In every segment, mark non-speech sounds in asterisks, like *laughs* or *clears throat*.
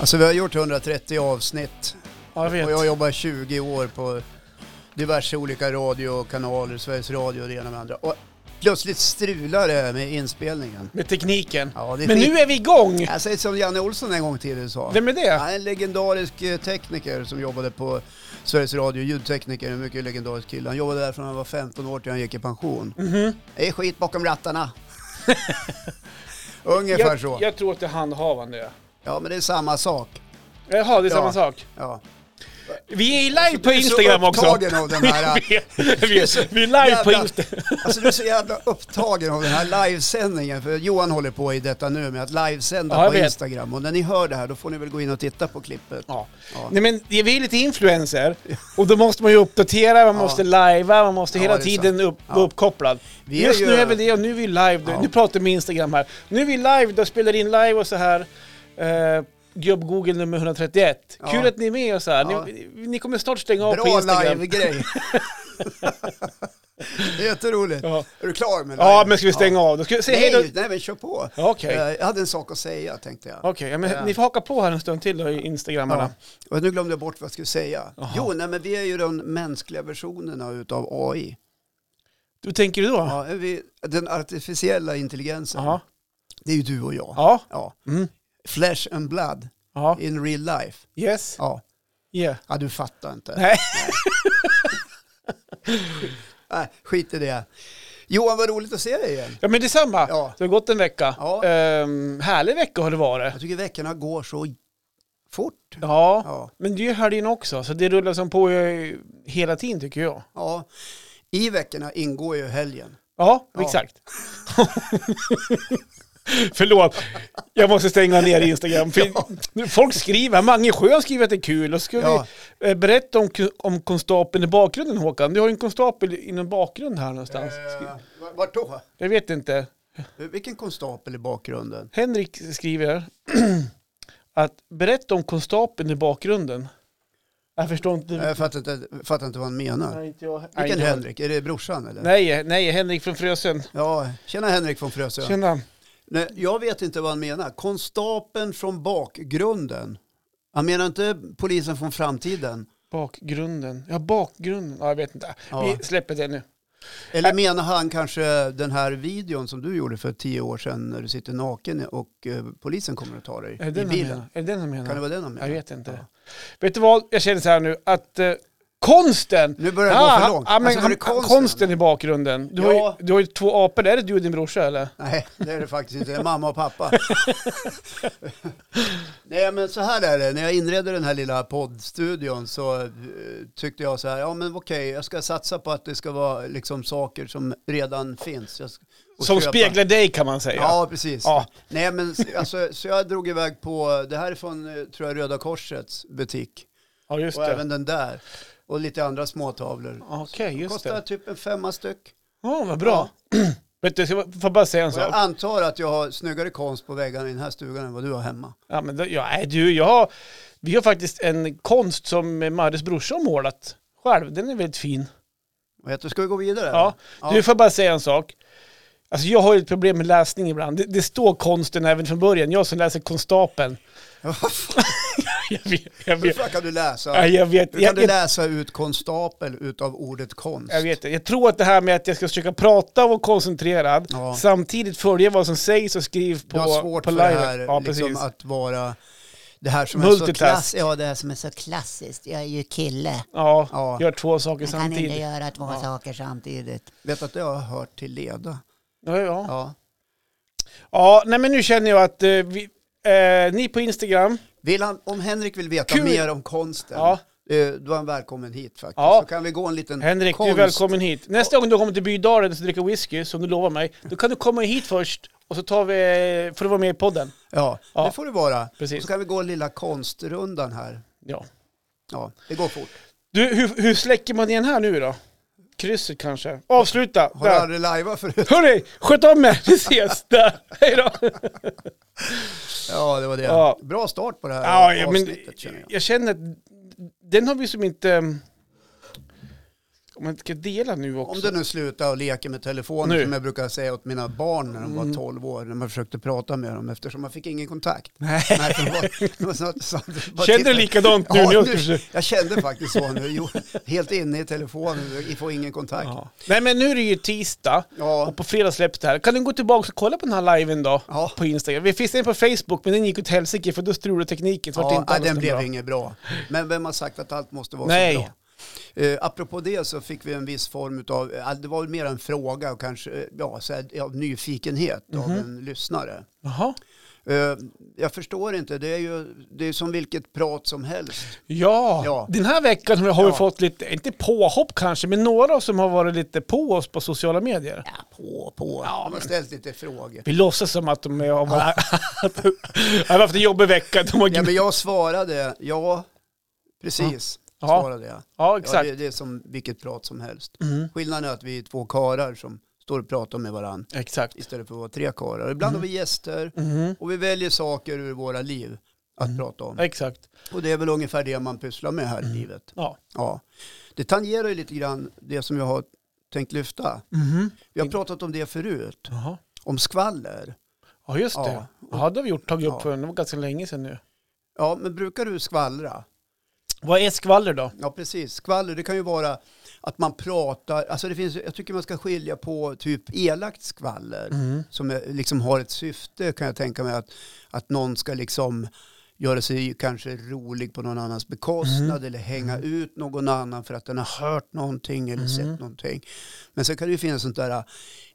Alltså vi har gjort 130 avsnitt Ja, jag vet. och jag har jobbat 20 år på diverse olika radiokanaler, Sveriges Radio och det ena med det andra. Och plötsligt strular det med inspelningen. Med tekniken. Ja, det är Men skit. nu är vi igång! Jag säger som Janne Olsson en gång till sa. Vem är det? Han är en legendarisk eh, tekniker som jobbade på Sveriges Radio, ljudtekniker, en mycket legendarisk kille. Han jobbade där från han var 15 år till han gick i pension. Mhm. Det är skit bakom *laughs* rattarna. Ungefär Jag, så. jag tror att det är handhavande. Ja, men det är samma sak. Jaha, det är Ja. samma sak. Ja. Vi är live på Du är så Instagram också. upptagen av den här... *laughs* äh, vi, vi, vi är live på Instagram. Alltså du är så jävla upptagen av den här livesändningen. För Johan håller på i detta nu med att livesända Ja, jag på vet. Instagram. Och när ni hör det här då får ni väl gå in och titta på klippet. Ja. Ja. Nej men det- vi är lite influencer och då måste man ju uppdatera, man måste lajva, man måste Ja, hela det är tiden upp, Ja. vara uppkopplad. Vi är Just ju- nu är vi det och nu är vi live, Ja. nu pratar vi med Instagram här. Nu är vi live, då spelar in live och så här. Eh, Gubb Google nummer 131. Ja. Kul att ni är med oss här. Ja. Ni, ni kommer snart stänga av på Bra Instagram. *laughs* live-grej. *laughs* det är jätteroligt. Ja. Är du klar med live? Ja, men ska vi stänga av då? Ska vi säga hej Nej, då? nej, men kör på. Ja, Okej, Eh, Jag hade en sak att säga tänkte jag. Okej, ja, men Ja. ni får haka på här en stund till då i Instagramarna. Och nu glömde jag bort vad jag skulle säga. Jo, nej, men vi är ju den mänskliga versionerna utav AI. Hur tänker du då? Ja. Ja, är vi, den artificiella intelligensen. Ja. Det är ju du och jag. Ja. Ja. Mm. Flesh and blood ja. in real life. Yes. Ja, Yeah. ja du fattar inte. Nej. *laughs* Nej, skit i det. Johan, vad roligt att se dig igen. Ja men detsamma. Ja. Det har gått en vecka. Ja. Ehm, härlig vecka har det varit. Jag tycker veckorna går så fort. Ja. Ja. Men det är ju helgen också, så det rullar som på eh, hela tiden tycker jag. ja. I veckorna ingår ju helgen. Ja, Ja. exakt. *laughs* Förlåt, jag måste stänga ner Instagram. För nu- Folk skriver, Mange Sjön skriver att det är kul. Och ska Ja. vi eh, berätta om, ku- om konstapeln i bakgrunden Håkan? Du har ju en konstapel i någon bakgrund här någonstans. Eh, vart då? Jag vet inte. Vilken konstapel i bakgrunden? Henrik skriver *clears throat* att berätta om konstapeln i bakgrunden. Jag förstår inte. Eh, Jag fattar inte, fattar inte vad han menar. Nej, inte jag. Nej, Vilken inte jag. Henrik? Är det brorsan eller? Nej, nej, Henrik från Frösön. Ja, tjena Henrik från Frösön. Tjena. Nej, jag vet inte vad han menar. Konstapeln från bakgrunden. Han menar inte polisen från framtiden. Bakgrunden. Ja, bakgrunden. Ja, jag vet inte. Ja. Vi släpper det nu. Eller menar han kanske den här videon som du gjorde för tio år sedan när du sitter naken och eh, polisen kommer att ta dig i Är det den han bilen? menar? Är det den han menar? Kan det vara den han Jag menar? vet inte. Vet du vad? Jag känner så här nu att eh, konsten. Nu börjar det gå för Ah, han- långt. Ja, men Alltså, var han, det konsten. konsten? i bakgrunden. Du, har Ja. ju, du har ju två apor. Är det du och din brorsa eller? Nej, det är det faktiskt inte. Det är mamma och *laughs* pappa. Nej, men så här är det. När jag inredde den här lilla poddstudion så eh, tyckte jag så här, ja men okej, jag ska satsa på att det ska vara liksom saker som redan finns. Jag ska- och Som köpa- speglar dig kan man säga. Ja, precis. Ja. Nej, men s- alltså, så jag drog iväg på, det här är från, eh, tror jag, Röda Korsets butik. Ja, just Och det. även den där. Och lite andra småtavlor. Okej, just Kostar det. typ en femma styck. Ja, vad bra. *clears throat* Vet du, ska jag- får jag bara säga en Och jag sak? antar att jag har snyggare konst på väggarna i den här stugan än vad du har hemma. Ja, men då, ja, nej, du, jag har, vi har faktiskt en konst som Marres brorsa har målat själv. Den är väldigt fin. Vad heter Ska vi gå vidare? Ja. Du, får jag bara säga en sak? Alltså jag har ju ett problem med läsning ibland. Det, det står konsten även från början. Jag som läser konstapeln. Vad fan, *laughs* Jag vet, jag Hur vet. fan kan du läsa? Ja, jag vet. Hur kan Jag, du jag, läsa ut konstapel utav ordet konst? jag vet det. Jag tror att det här med att jag ska försöka prata och vara koncentrerad Ja. samtidigt följa vad som sägs och skrivs på Du har svårt på för det live. här Ja, liksom, precis. att vara det här som är så Multitask. klass... Ja, det här som är så klassiskt. Jag är ju kille. Ja, Ja. gör två saker Man kan inte samtidigt. göra två saker samtidigt. Vet att det har jag hört till leda. Ja, ja. Ja. Ja, nej men nu känner jag att eh, vi, eh, ni på Instagram, Vill han, om Henrik vill veta Kul. mer om konsten, Ja. eh, då är han välkommen hit faktiskt. Ja. Så kan vi gå en liten Henrik, konst... du är välkommen hit. Nästa gång du kommer till Bydalen och dricker whisky, som du lovar mig, då kan du komma hit först och så tar vi, får du vara med i podden. Ja, Ja. det får det vara. Precis. Och så kan vi gå en lilla konstrundan här. Ja. Ja, det går fort. Du, hur, hur släcker man igen här nu då? Krysset kanske? Avsluta! Har du Där. aldrig lajvat förut? Hörni, sköt om er! Vi ses! Där! *laughs* Hej då! Ja, det var det. Ja. Bra start på det här Ja, ja, men avsnittet känner jag. jag känner att den har vi som inte... Om man ska dela nu också. Om du nu slutar och leker med telefonen Nu. Mm. som jag brukar säga åt mina barn när de var 12 år när man försökte prata med dem eftersom man fick ingen kontakt. Nej. Nej, det var, det var snart, så, bara Känner du titta. likadant nu? Ja, när jag ska nu, försöka- jag kände faktiskt så nu. Jo, helt inne i telefonen, vi får ingen kontakt. Ja. Nej men nu är det ju tisdag Ja, och på fredag släpps det här. Kan du gå tillbaka och kolla på den här liven då? ja. På Instagram. Vi finns den på Facebook men den gick åt helsike för då strulade tekniken. så vart det ja inte nej, alls den blev bra. inget bra. Men vem har sagt att allt måste vara Nej. så bra? Eh, apropå det så fick vi en viss form av, det var väl mer en fråga och kanske eh, ja, så här, av nyfikenhet av Mhm. en lyssnare. Jaha. Eh, jag förstår inte, det är ju det är som vilket prat som helst. Ja. Ja. den här veckan har vi Ja. fått lite, inte påhopp kanske, men några som har varit lite på oss på sociala medier. Ja, på, på. Ja, man har ställt lite frågor. Vi låtsas som att de är- *laughs* har varit- att de har haft en jobbig vecka. De har Ja, men jag svarade, ja, precis, Ja. svarade jag. ja, Ja, exakt. det, det är som vilket prat som helst. Mm. Skillnaden är att vi är två karar som står och pratar med varandra Exakt. istället för att vara tre karar. Mm. Ibland har vi gäster Mhm. och vi väljer saker ur våra liv att Mm. prata om. Exakt. Och det är väl ungefär det man pysslar med här Mm. i livet. Ja. Ja. Det tangerar ju lite grann det som jag har tänkt lyfta. Mhm. Vi har pratat om det förut, Jaha. om skvaller. Ja, just Ja. det. Ja, det har vi gjort, tagit upp Ja. för det var ganska länge sedan nu. Ja, men brukar du skvallra? Vad är skvaller då? Ja, precis. Skvaller, det kan ju vara att man pratar, alltså det finns, jag tycker man ska skilja på typ elakt skvaller som är, liksom har ett syfte kan jag tänka mig att, att någon ska liksom göra sig kanske rolig på någon annans bekostnad eller hänga ut någon annan för att den har hört någonting eller sett någonting. Men sen kan det ju finnas sånt där äh,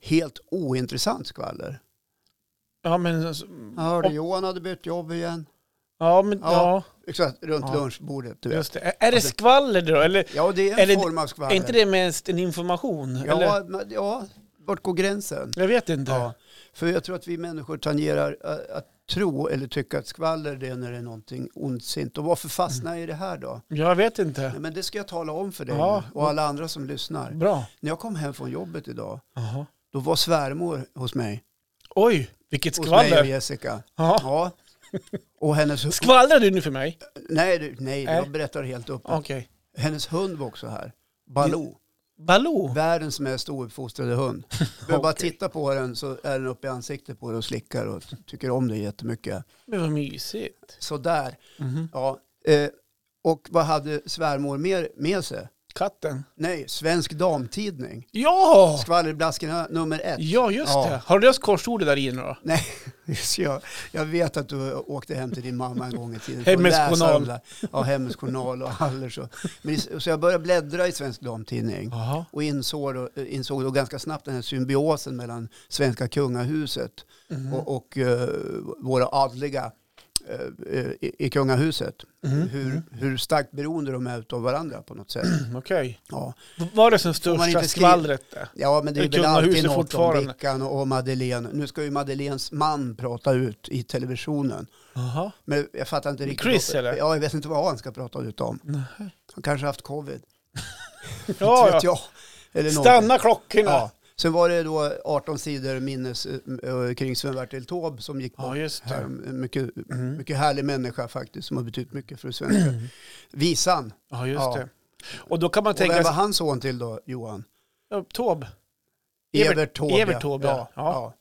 helt ointressant skvaller. Ja, men... Jag hörde Johan hade bytt jobb igen. Ja, men ja. Ja. Exakt, runt Ja. lunchbordet. Du vet. just det. Är- Är det skvaller då? Eller Ja, det är en Eller- form av skvaller. är inte det mest en information? Eller? Ja, men, ja, vart går gränsen? Jag vet inte. Ja, för jag tror att vi människor tangerar eh, att tro eller tycka att skvaller det är när det är någonting ondsint. Och varför fastnar jag i det här då? Jag vet Nej, inte. men det ska jag tala om för dig Ja. nu, och alla andra som lyssnar. Bra. När jag kom hem från jobbet idag, Jaha. då var svärmor hos mig. Oj, vilket Hos mig och skvaller. Jessica. Ja. Ja. Och hennes... Skvallrar du nu för mig? Nej, du- nej, Nej. jag berättar helt öppet. Okej. Hennes hund var också här. Baloo. *laughs* Baloo? Världens mest ouppfostrade hund. Du behöver bara titta på den så är den uppe i ansiktet på dig och slickar och tycker om dig jättemycket. Men vad mysigt. Sådär. Mhm. Ja. Eh, och vad hade svärmor mer med sig? Katten? Nej, Svensk Damtidning. Ja! Skvallerblaskorna nummer ett. Ja, just Ja. det. Har du löst korsordet där i nu då? Nej, *laughs* just jag, jag vet att du åkte hem till din mamma en gång i tiden. Hemmets för att läsa Journal. de där- Ja, Hemmets Journal och *laughs* Allers. Och, men, i- så jag började bläddra i Svensk Damtidning. Jaha. Och insåg då, eh, insåg då ganska snabbt den här symbiosen mellan svenska kungahuset Mm. och, och eh, våra adliga eh, eh, i, i kungahuset. Mm. Hur, hur starkt beroende de är av varandra på *clears throat* något sätt. Okej. Ja, Vad Var det som man största inte skriva- skvallret? där? ja men det Det är är väl alltid kungahuset något om fortfarande. Vickan och Madeleine. Nu ska ju Madeleines man prata ut i televisionen. Jaha. Men jag fattar inte riktigt. Chris, vad- eller? Ja, jag vet inte vad han ska prata ut om. Nähä. Han kanske haft covid. Inte *laughs* Ja, vet ja. jag. Eller någonting. Stanna klockorna. Ja. Sen var det då 18 sidor minnes eh, kring Sven-Bertil Taube som gick Ja, bort. just här. det. Mm. En mycket, mycket härlig människa faktiskt som har betytt mycket för det svenska. Visan. Ja, Mm. just Ja. det. Och då kan man Och vem tänka var sig... hans son till då, Johan? Ja, Taube. Evert- Evert Taube. Evert Taube, ja. ja.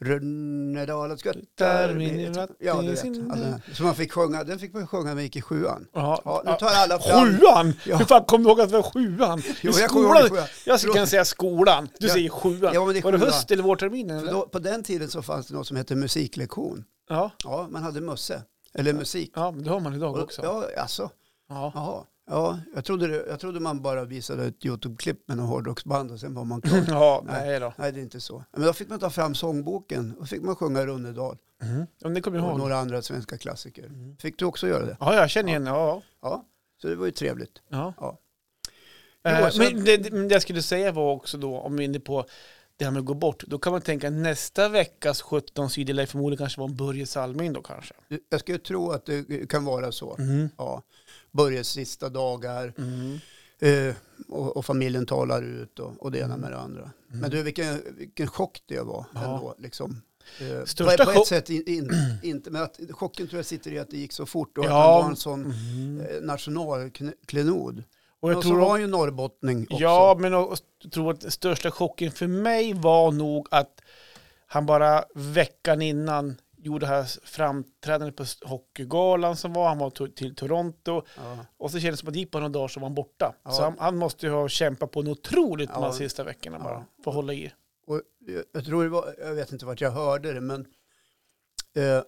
ja. Rönnedalas Där göttar. min Ja, ratt du i vet. sin- Alla den här. Så man fick sjunga, den fick man sjunga när man gick i sjuan. Ja. Ja, nu Ja. tar alla fram. Sjuan! Ja. Hur fan kom du ihåg att det var sjuan? I Jo, jag kommer ihåg skolan. sjuan. Jag kan Förlåt. säga skolan. Du Ja. säger sjuan. Ja, men det är var det sjuan. höst eller vårterminen? För Eller? då, på den tiden så fanns det något som hette musiklektion. Ja. Ja, man hade mösse. Eller musik. ja, men det har man idag Och- också. Ja. Ja, alltså. Jaha. Ja, jag trodde, det, jag trodde man bara visade ett YouTube-klipp med någon hårdrocksband och sen var man *laughs* klar. *laughs* Ja, Nej. nej då. Nej, det är inte så. Men då fick man ta fram sångboken och fick man sjunga Runnedal Ja, men det kommer jag Mm. och ihåg. några andra svenska klassiker. Fick du också göra det? Ja, jag känner igen ja. Ja, så det var ju trevligt. ja. Ja. Eh, Jo, så- Men det, det- men det jag skulle säga var också då, om vi är inne på det här med att gå bort, då kan man tänka nästa veckas 17 sidor lär förmodligen kanske vara en Börje Salming då kanske. Jag skulle tro att det kan vara så. Mm. Ja. Börjes sista dagar Mm. eh, och, och familjen talar ut och, och det ena med det andra. Men du, vilken, vilken chock det var Mm. Ja. ändå. Liksom. Eh, på, Största på chock- ett sätt in, in, inte, men att, chocken tror jag sitter i att det gick så fort och Ja. att han var en sån Mm. eh, nationalklenod. Och Och jag Och så tror var han ju norrbottning också. Ja, men och- och jag tror att den största chocken för mig var nog att han bara veckan innan gjorde det här framträdandet på Hockeygalan som var. Han var to- till Toronto Ja. och så kändes det som att det gick bara några dagar så var han borta. Ja. Så han, han måste ju ha kämpat på en otroligt Ja. de här sista veckorna bara för att hålla i. Och jag- jag tror det var, jag vet inte vart jag hörde det, men eh,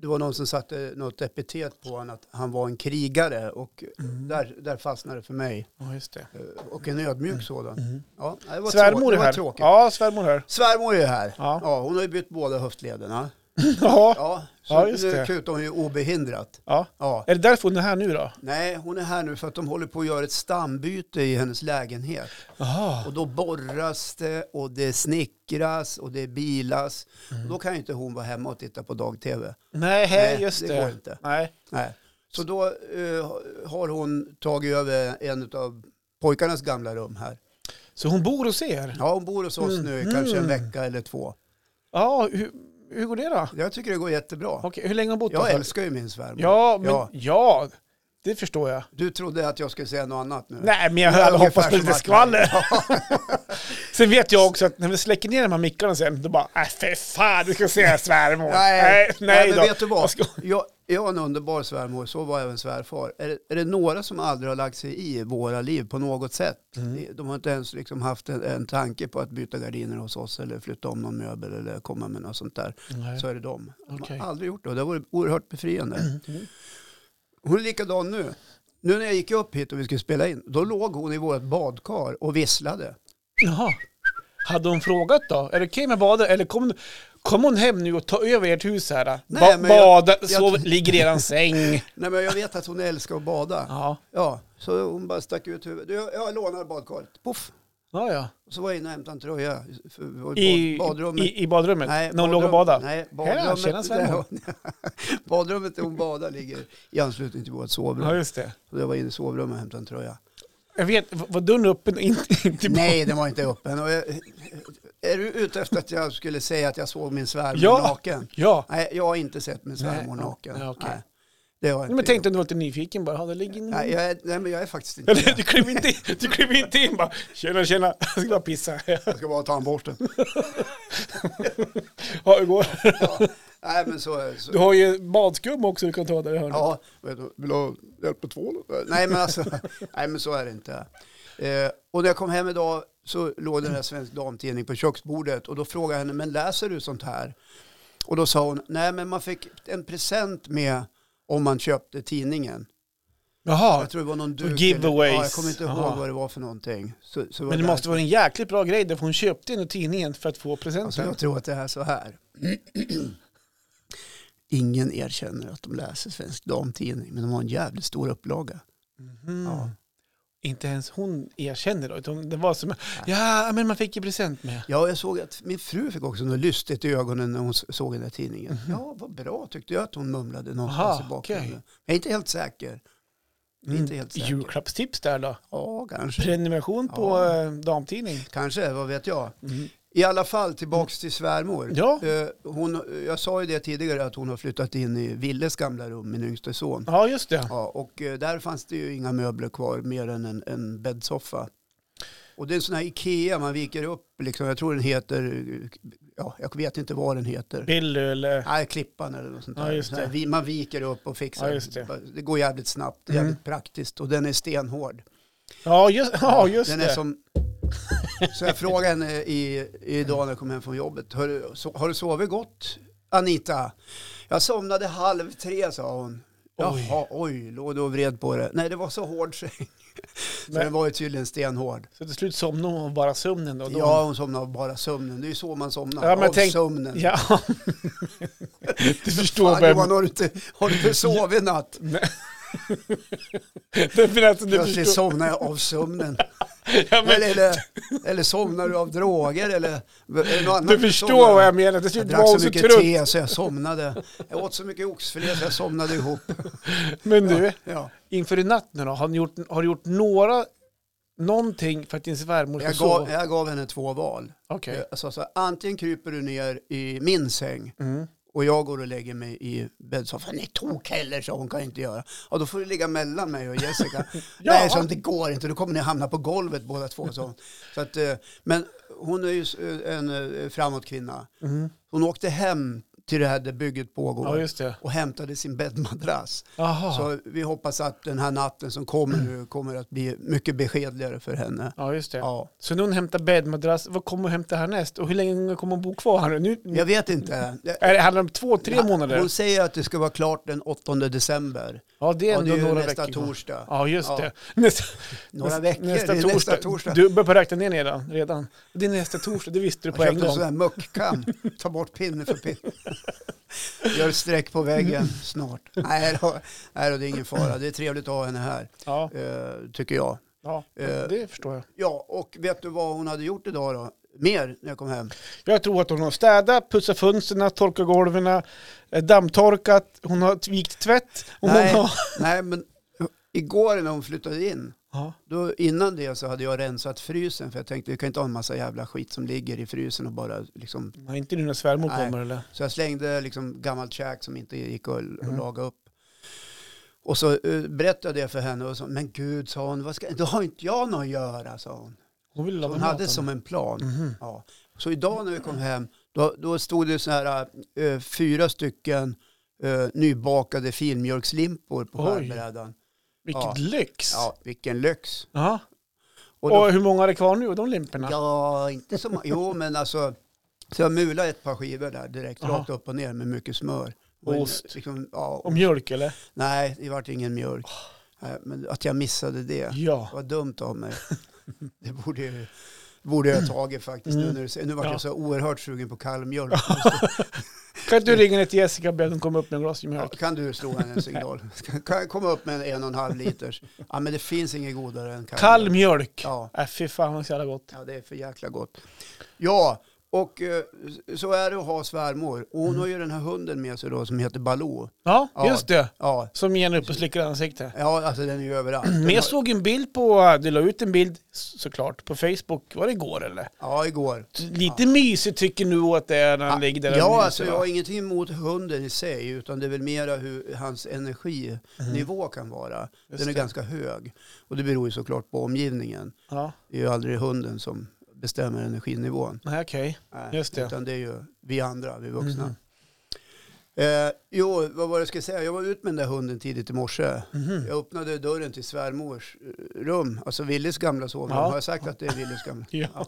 det var någon som satte något epitet på honom att han var en krigare och Mm. där, där fastnade det för mig. Ja, just det. Eh, Och en ödmjuk sådan. Ja, det var Mm. Svärmor tråkigt. Det är var här. tråkigt. Ja, *clears throat* svärmor är här. Svärmor är ju här. Ja. Ja. hon har ju bytt båda höftlederna. Ja. Ja, så Ja, just det. nu kutar hon ju obehindrat. ja. Ja. Är det därför hon är här nu då? Nej, hon är här nu för att de håller på att göra ett stambyte i hennes lägenhet. Jaha. Och då borras det och det snickras och det bilas. Mm. Och då kan ju inte hon vara hemma och titta på dag-tv. Nej, hej, Nej, just det. det går inte. Nej. Nej. Så då eh, har hon tagit över en av pojkarnas gamla rum här. Så hon bor hos er? Ja, hon bor hos oss nu i Mhm. kanske en vecka eller två. Ja, hur, hur går det då? Jag tycker det går jättebra. Okej, hur länge har hon bott Jag där? älskar ju min svärmor. Ja, men ja. Ja. det förstår jag. Du trodde att jag skulle säga något annat nu? Nej, men jag Det är hade hoppats ungefär på som lite att- skvaller. sen vet jag också att när vi släcker ner de här mickarna sen, då bara äh, fy fan, du ska se svärmor. Nej, nej, nej men då. vet du vad? Jag ska- Jag, jag har en underbar svärmor, så var även svärfar. Är det, är det några som aldrig har lagt sig i våra liv på något sätt? Mm. De har inte ens liksom haft en, en tanke på att byta gardiner hos oss eller flytta om någon möbel eller komma med något sånt där. Nej. Så är det dem. De Okej. Mm. har aldrig gjort det och det har varit oerhört befriande. Hon är likadan nu. Nu när jag gick upp hit och vi skulle spela in, då låg hon i vårt badkar och visslade. Jaha. Hade hon frågat då? Är det okej med badet? Eller kom, kom hon hem nu och tar över ert hus här? Ba- Nej, men jag- bada, jag- sov, ligger i eran säng. Nej, men jag vet att hon älskar att bada. Ja, *laughs* Ja, så hon bara stack ut huvudet. Du, jag lånar badkaret. Puff! ja, ja. Och så var jag inne och hämtade en tröja. För vi var I I badrummet. I, i badrummet? Nej, när hon låg och badrum- badade? Nej, Ja, tjena, badrummet, *laughs* Sven. där, hon- badrummet där hon badar ligger i anslutning till vårt sovrum. Ja, just det. Så jag var inne i sovrummet och hämtade en tröja. Jag vet, v- var dörren öppen? *laughs* Inte, inte Nej, den var inte öppen. Och jag, är du ute efter att jag skulle säga att jag såg min svärmor Ja. naken? Ja. Nej, jag har inte sett min svärmor Nej, naken. ja, okej. Nej, det har jag Men inte jag tänkte gjort. om du var lite nyfiken bara. Ja, det ligger en... Nej, jag, är- nej, men jag är faktiskt inte *laughs* Eller, det. du klev inte, in- du klev inte in bara. Tjena, tjena. *laughs* Jag ska bara pissa. Jag ska bara ta tandborsten. Ja, hur går det? Ja. Nej, men så, så, Du har ju badskum också du kan ta där i hörnet. Ja, vet du, vill du ha hjälp med tvål? Nej men, alltså, *laughs* nej, men så är det inte. Eh, och när jag kom hem idag så låg den här Svensk Damtidning på köksbordet och då frågade jag henne, men läser du sånt här? Och då sa hon, nej men man fick en present med om man köpte tidningen. Jaha. Jag tror det var någon duk. eller- giveaways. Ja, jag kommer inte ihåg Aha. vad det var för någonting. Så, så var Men det där- måste vara en jäkligt bra grej därför hon köpte den ur tidningen för att få Alltså, presenten. jag tror att det är så här. *clears throat* Ingen erkänner att de läser Svensk Damtidning, men de har en jävligt stor upplaga. Mhm. Ja. Inte ens hon erkänner då. utan Det var som, ja men man fick ju present med. Ja, jag såg att min fru fick också något lystigt i ögonen när hon s- såg den där tidningen. Ja, vad bra tyckte jag att hon mumlade någonstans Mhm. Aha, i bakgrunden. okej. Jag är inte helt säker. Jag är Inte helt säker. Mm. Julklappstips där då. Ja, kanske. Prenumeration på Ja. eh, damtidning. Kanske, vad vet jag. I alla fall tillbaks till svärmor. Mm. Ja. Eh, Hon, jag sa ju det tidigare att hon har flyttat in i Villes gamla rum, min yngste son. Ja, just det. Ja, och eh, där fanns det ju inga möbler kvar mer än en, en bäddsoffa. Och det är en sån här Ikea, man viker upp liksom. Jag tror den heter, ja, jag vet inte vad den heter. Billy eller... Nej, klippan eller något sånt Ja, där. just Så här, det. vi- Man viker upp och fixar. Ja, just det. Mm. går jävligt snabbt, jävligt praktiskt och den är stenhård. Ja, just, ja, just den det. Är som... Så jag frågade henne i, idag när jag kom hem från jobbet, har du, so, har du sovit gott Anita? Jag somnade halv tre sa hon. Oj. Jaha, oj, låg du och vred på det? Nej, det var så hård säng. *laughs* Så Men- den var ju tydligen stenhård. Så till slut somnade hon av bara sömnen då? då Ja, hon somnade av bara sömnen. Det är ju så man somnar, Ja, men av tänk- sömnen. ja. *laughs* du förstår Fan, vem... *laughs* Johan, har du inte, har du inte sovit natt? Nej, men alltså, du Plötsligt förstår... somnar jag av sömnen. Ja, men, Eller, eller, eller somnar du av droger eller, eller något annat. du förstår Somnar- vad jag menar. Till Jag slut drack var så hon så mycket trött. te så jag somnade. Jag åt så mycket oxfilé så jag somnade ihop. Men du, Ja. inför i natt nu då, har du gjort, har ni gjort några, någonting för att din svärmor ska Jag, gav, sova? jag gav henne två val. Okej. Jag sa så här, antingen kryper du ner i min säng Mm. Och jag går och lägger mig i bäddsoffan. Nej, tok heller, så hon kan inte göra. Ja, då får du ligga mellan mig och *laughs* Jessica. Nej, så det går inte. Då kommer ni hamna på golvet båda två. Så. Så att, eh, men hon är ju s- en eh, framåt kvinna. Hon åkte hem till det här där bygget pågår Mm. Ja, just det. och hämtade sin bäddmadrass. Aha. Så vi hoppas att den här natten som kommer nu kommer att bli mycket beskedligare för henne. Ja, just det. Ja. Så nu hon hämtar bäddmadrass. Vad kommer hon hämta härnäst? Och hur länge kommer hon bo kvar här nu? nu? Jag vet inte. Det- Är det, handlar det om två, tre månader? Hon säger att det ska vara klart den 8 december. Ja, det är Ja, ändå det är ju några nästa veckor kvar. torsdag. Ja, just Ja. det. Nästa, Några nästa- veckor, Nästa det är torsdag. nästa torsdag. Du börjar på att räkna ner redan, redan. Det är nästa torsdag, det visste du på Jag en köpte en sån gång. här muckkam. Ta bort pinne för *laughs* pinne. Gör ett streck på väggen snart. Nej då, nej då, det är ingen fara. Det är trevligt att ha henne här, Ja, eh, tycker jag. ja, Eh. det förstår jag. Ja, och vet du vad hon hade gjort idag då? Mer när jag kom hem. Jag tror att hon har städat, putsat fönstren, torkat golven, eh, dammtorkat, hon har vikt tvätt. Och Nej. hon har... Nej, men igår när hon flyttade in, Ja, då, innan det så hade jag rensat frysen för jag tänkte vi kan inte ha en massa jävla skit som ligger i frysen och bara liksom Nej, inte nu när svärmor Nej. kommer eller? Så jag slängde liksom gammalt käk som inte gick att l- Mm. laga upp. Och så eh, berättade jag för henne och så, men gud sa hon, vad ska, då har inte jag något att göra sa hon. Hon vill Så laga hon maten. hade som en plan. Mhm. Ja. Så idag när vi kom hem, då, då stod det så här eh, fyra stycken eh, nybakade filmjölkslimpor på Oj. skärbrädan. Vilket Ja. lyx! Ja. Ja, vilken lyx. Och Och, då, hur många är det kvar nu, de limporna? ja, inte så ma- Jo, men alltså, så jag mulade ett par skivor där direkt, Aha. rakt upp och ner med mycket smör. en- Ost. Liksom, ja, Och mjölk eller? Nej, det vart ingen mjölk. Nej, Men att jag missade det. Ja. Vad dumt av mig. Det borde, ju- borde jag ha tagit faktiskt. Nu, Mm. när du säger- nu vart Ja. jag så oerhört sugen på kallmjölk. Kan inte du ringa ner till Jessica och be att hon kommer upp med en glas Ja, mjölk? Kan du slå henne en signal? Kan jag komma upp med en en och en halv liters? Ja, men det finns inget godare än kallmjölk. Kall mjölk! Ja. Äh, fy fan vad så jävla gott. ja, det är för jäkla gott. Ja, och eh, så är det att ha svärmor. Och hon Mm. har ju den här hunden med sig då som heter Baloo. Ja, Ja. just det. Ja, Som ger en upp och slickar ansikte. ja alltså den är ju överallt. Den *clears throat* Men jag har- såg en bild på, du la ut en bild s- såklart på Facebook, var det igår eller? Ja, igår. Lite mysigt tycker du att det är när han ligger där och Ja, myser, alltså va? jag har ingenting emot hunden i sig, utan det är väl mera hur hans energinivå kan vara. Mm. Just Den är det. ganska hög. Och det beror ju såklart på omgivningen. Ja, Det är ju aldrig hunden som bestämmer energinivån. nej okej. Nej, Just det. Mhm. Utan det är ju vi andra, vi vuxna. Eh, jo, vad var det jag skulle säga? Jag var ut med den där hunden tidigt i morse. Mhm. Jag öppnade dörren till svärmors eh, rum, alltså Willes gamla sovrum. Ja. Har jag sagt att det är Willes gamla? Ja.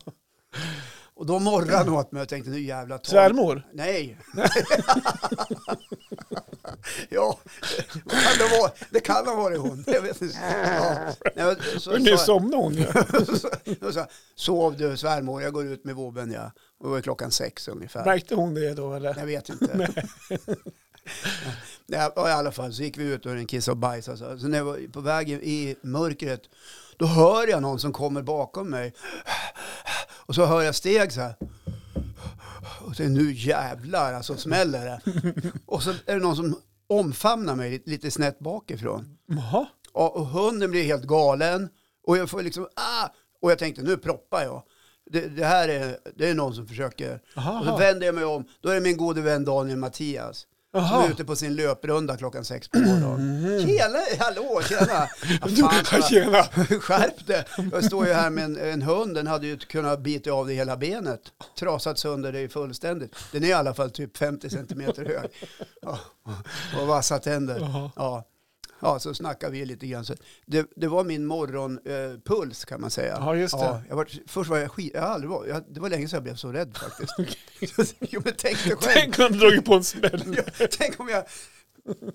Och då morrade han åt mig och tänkte nu jävla tar Svärmor? Nej. *laughs* ja, kan det, vara, det kan ha varit hon. Jag vet inte. Ja. Nej, men så- så- Men nu somnade hon ju. så- så- Sov du svärmor, jag går ut med vobben. Ja. Och det var klockan sex ungefär. Märkte hon det då eller? Jag vet inte. *laughs* Nej, och I alla fall så gick vi ut och den kissade och bajsade. Så, så när jag var på vägen i mörkret, då hör jag någon som kommer bakom mig. Och så hör jag steg så här. Och så nu jävlar, alltså smäller det. Och så är det någon som omfamnar mig lite snett bakifrån. Jaha. Ja, och hunden blir helt galen. Och jag får liksom, ah! Och jag tänkte, nu proppar jag. Det, det här är, det är någon som försöker. Aha. Och så vänder jag mig om. Då är det min gode vän Daniel Mattias. Som Jaha. är ute på sin löprunda klockan sex på morgonen. Tjena, hallå, *laughs* tjena. Ja, fan, Du, vad- Mhm. tjena! *laughs* Skärp dig. Jag står ju här med en, en hund. Den hade ju kunnat bita av det hela benet. Trasat sönder det ju fullständigt. Den är i alla fall typ 50 centimeter hög. Ja, och vassa tänder. Jaha. Ja. ja, så snackar vi lite grann. Så det, det var min morgonpuls eh, puls kan man säga. Ja, just det. jag var, först var jag skit... Jag har aldrig var, jag, det var länge sedan jag blev så rädd *laughs* faktiskt. *laughs* jo, men tänk dig själv. *laughs* Tänk om hon dragit på en smäll. Jag, tänk om jag...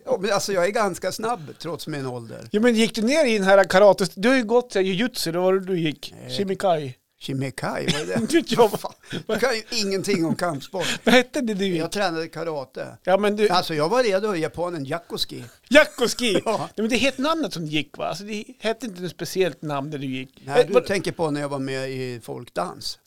Ja, men alltså jag är ganska snabb trots min ålder. Ja men gick du ner i den här karate... Du har ju gått så här jujutsu, det var det du gick. Nej. Shimikai. Shimekai, vad är *laughs* det? Inte vet jag vad- Jag kan ju ingenting om kampsport. Vad hette det du gick? Jag tränade karate. Ja men du, Alltså jag var redo i japanen Yakoski. Jackoski! Ja. Nej men det hette namnet som du gick va? Alltså, det hette inte något speciellt namn när du gick. Nej, Eh, du var- tänker på när jag var med i *laughs* folkdans.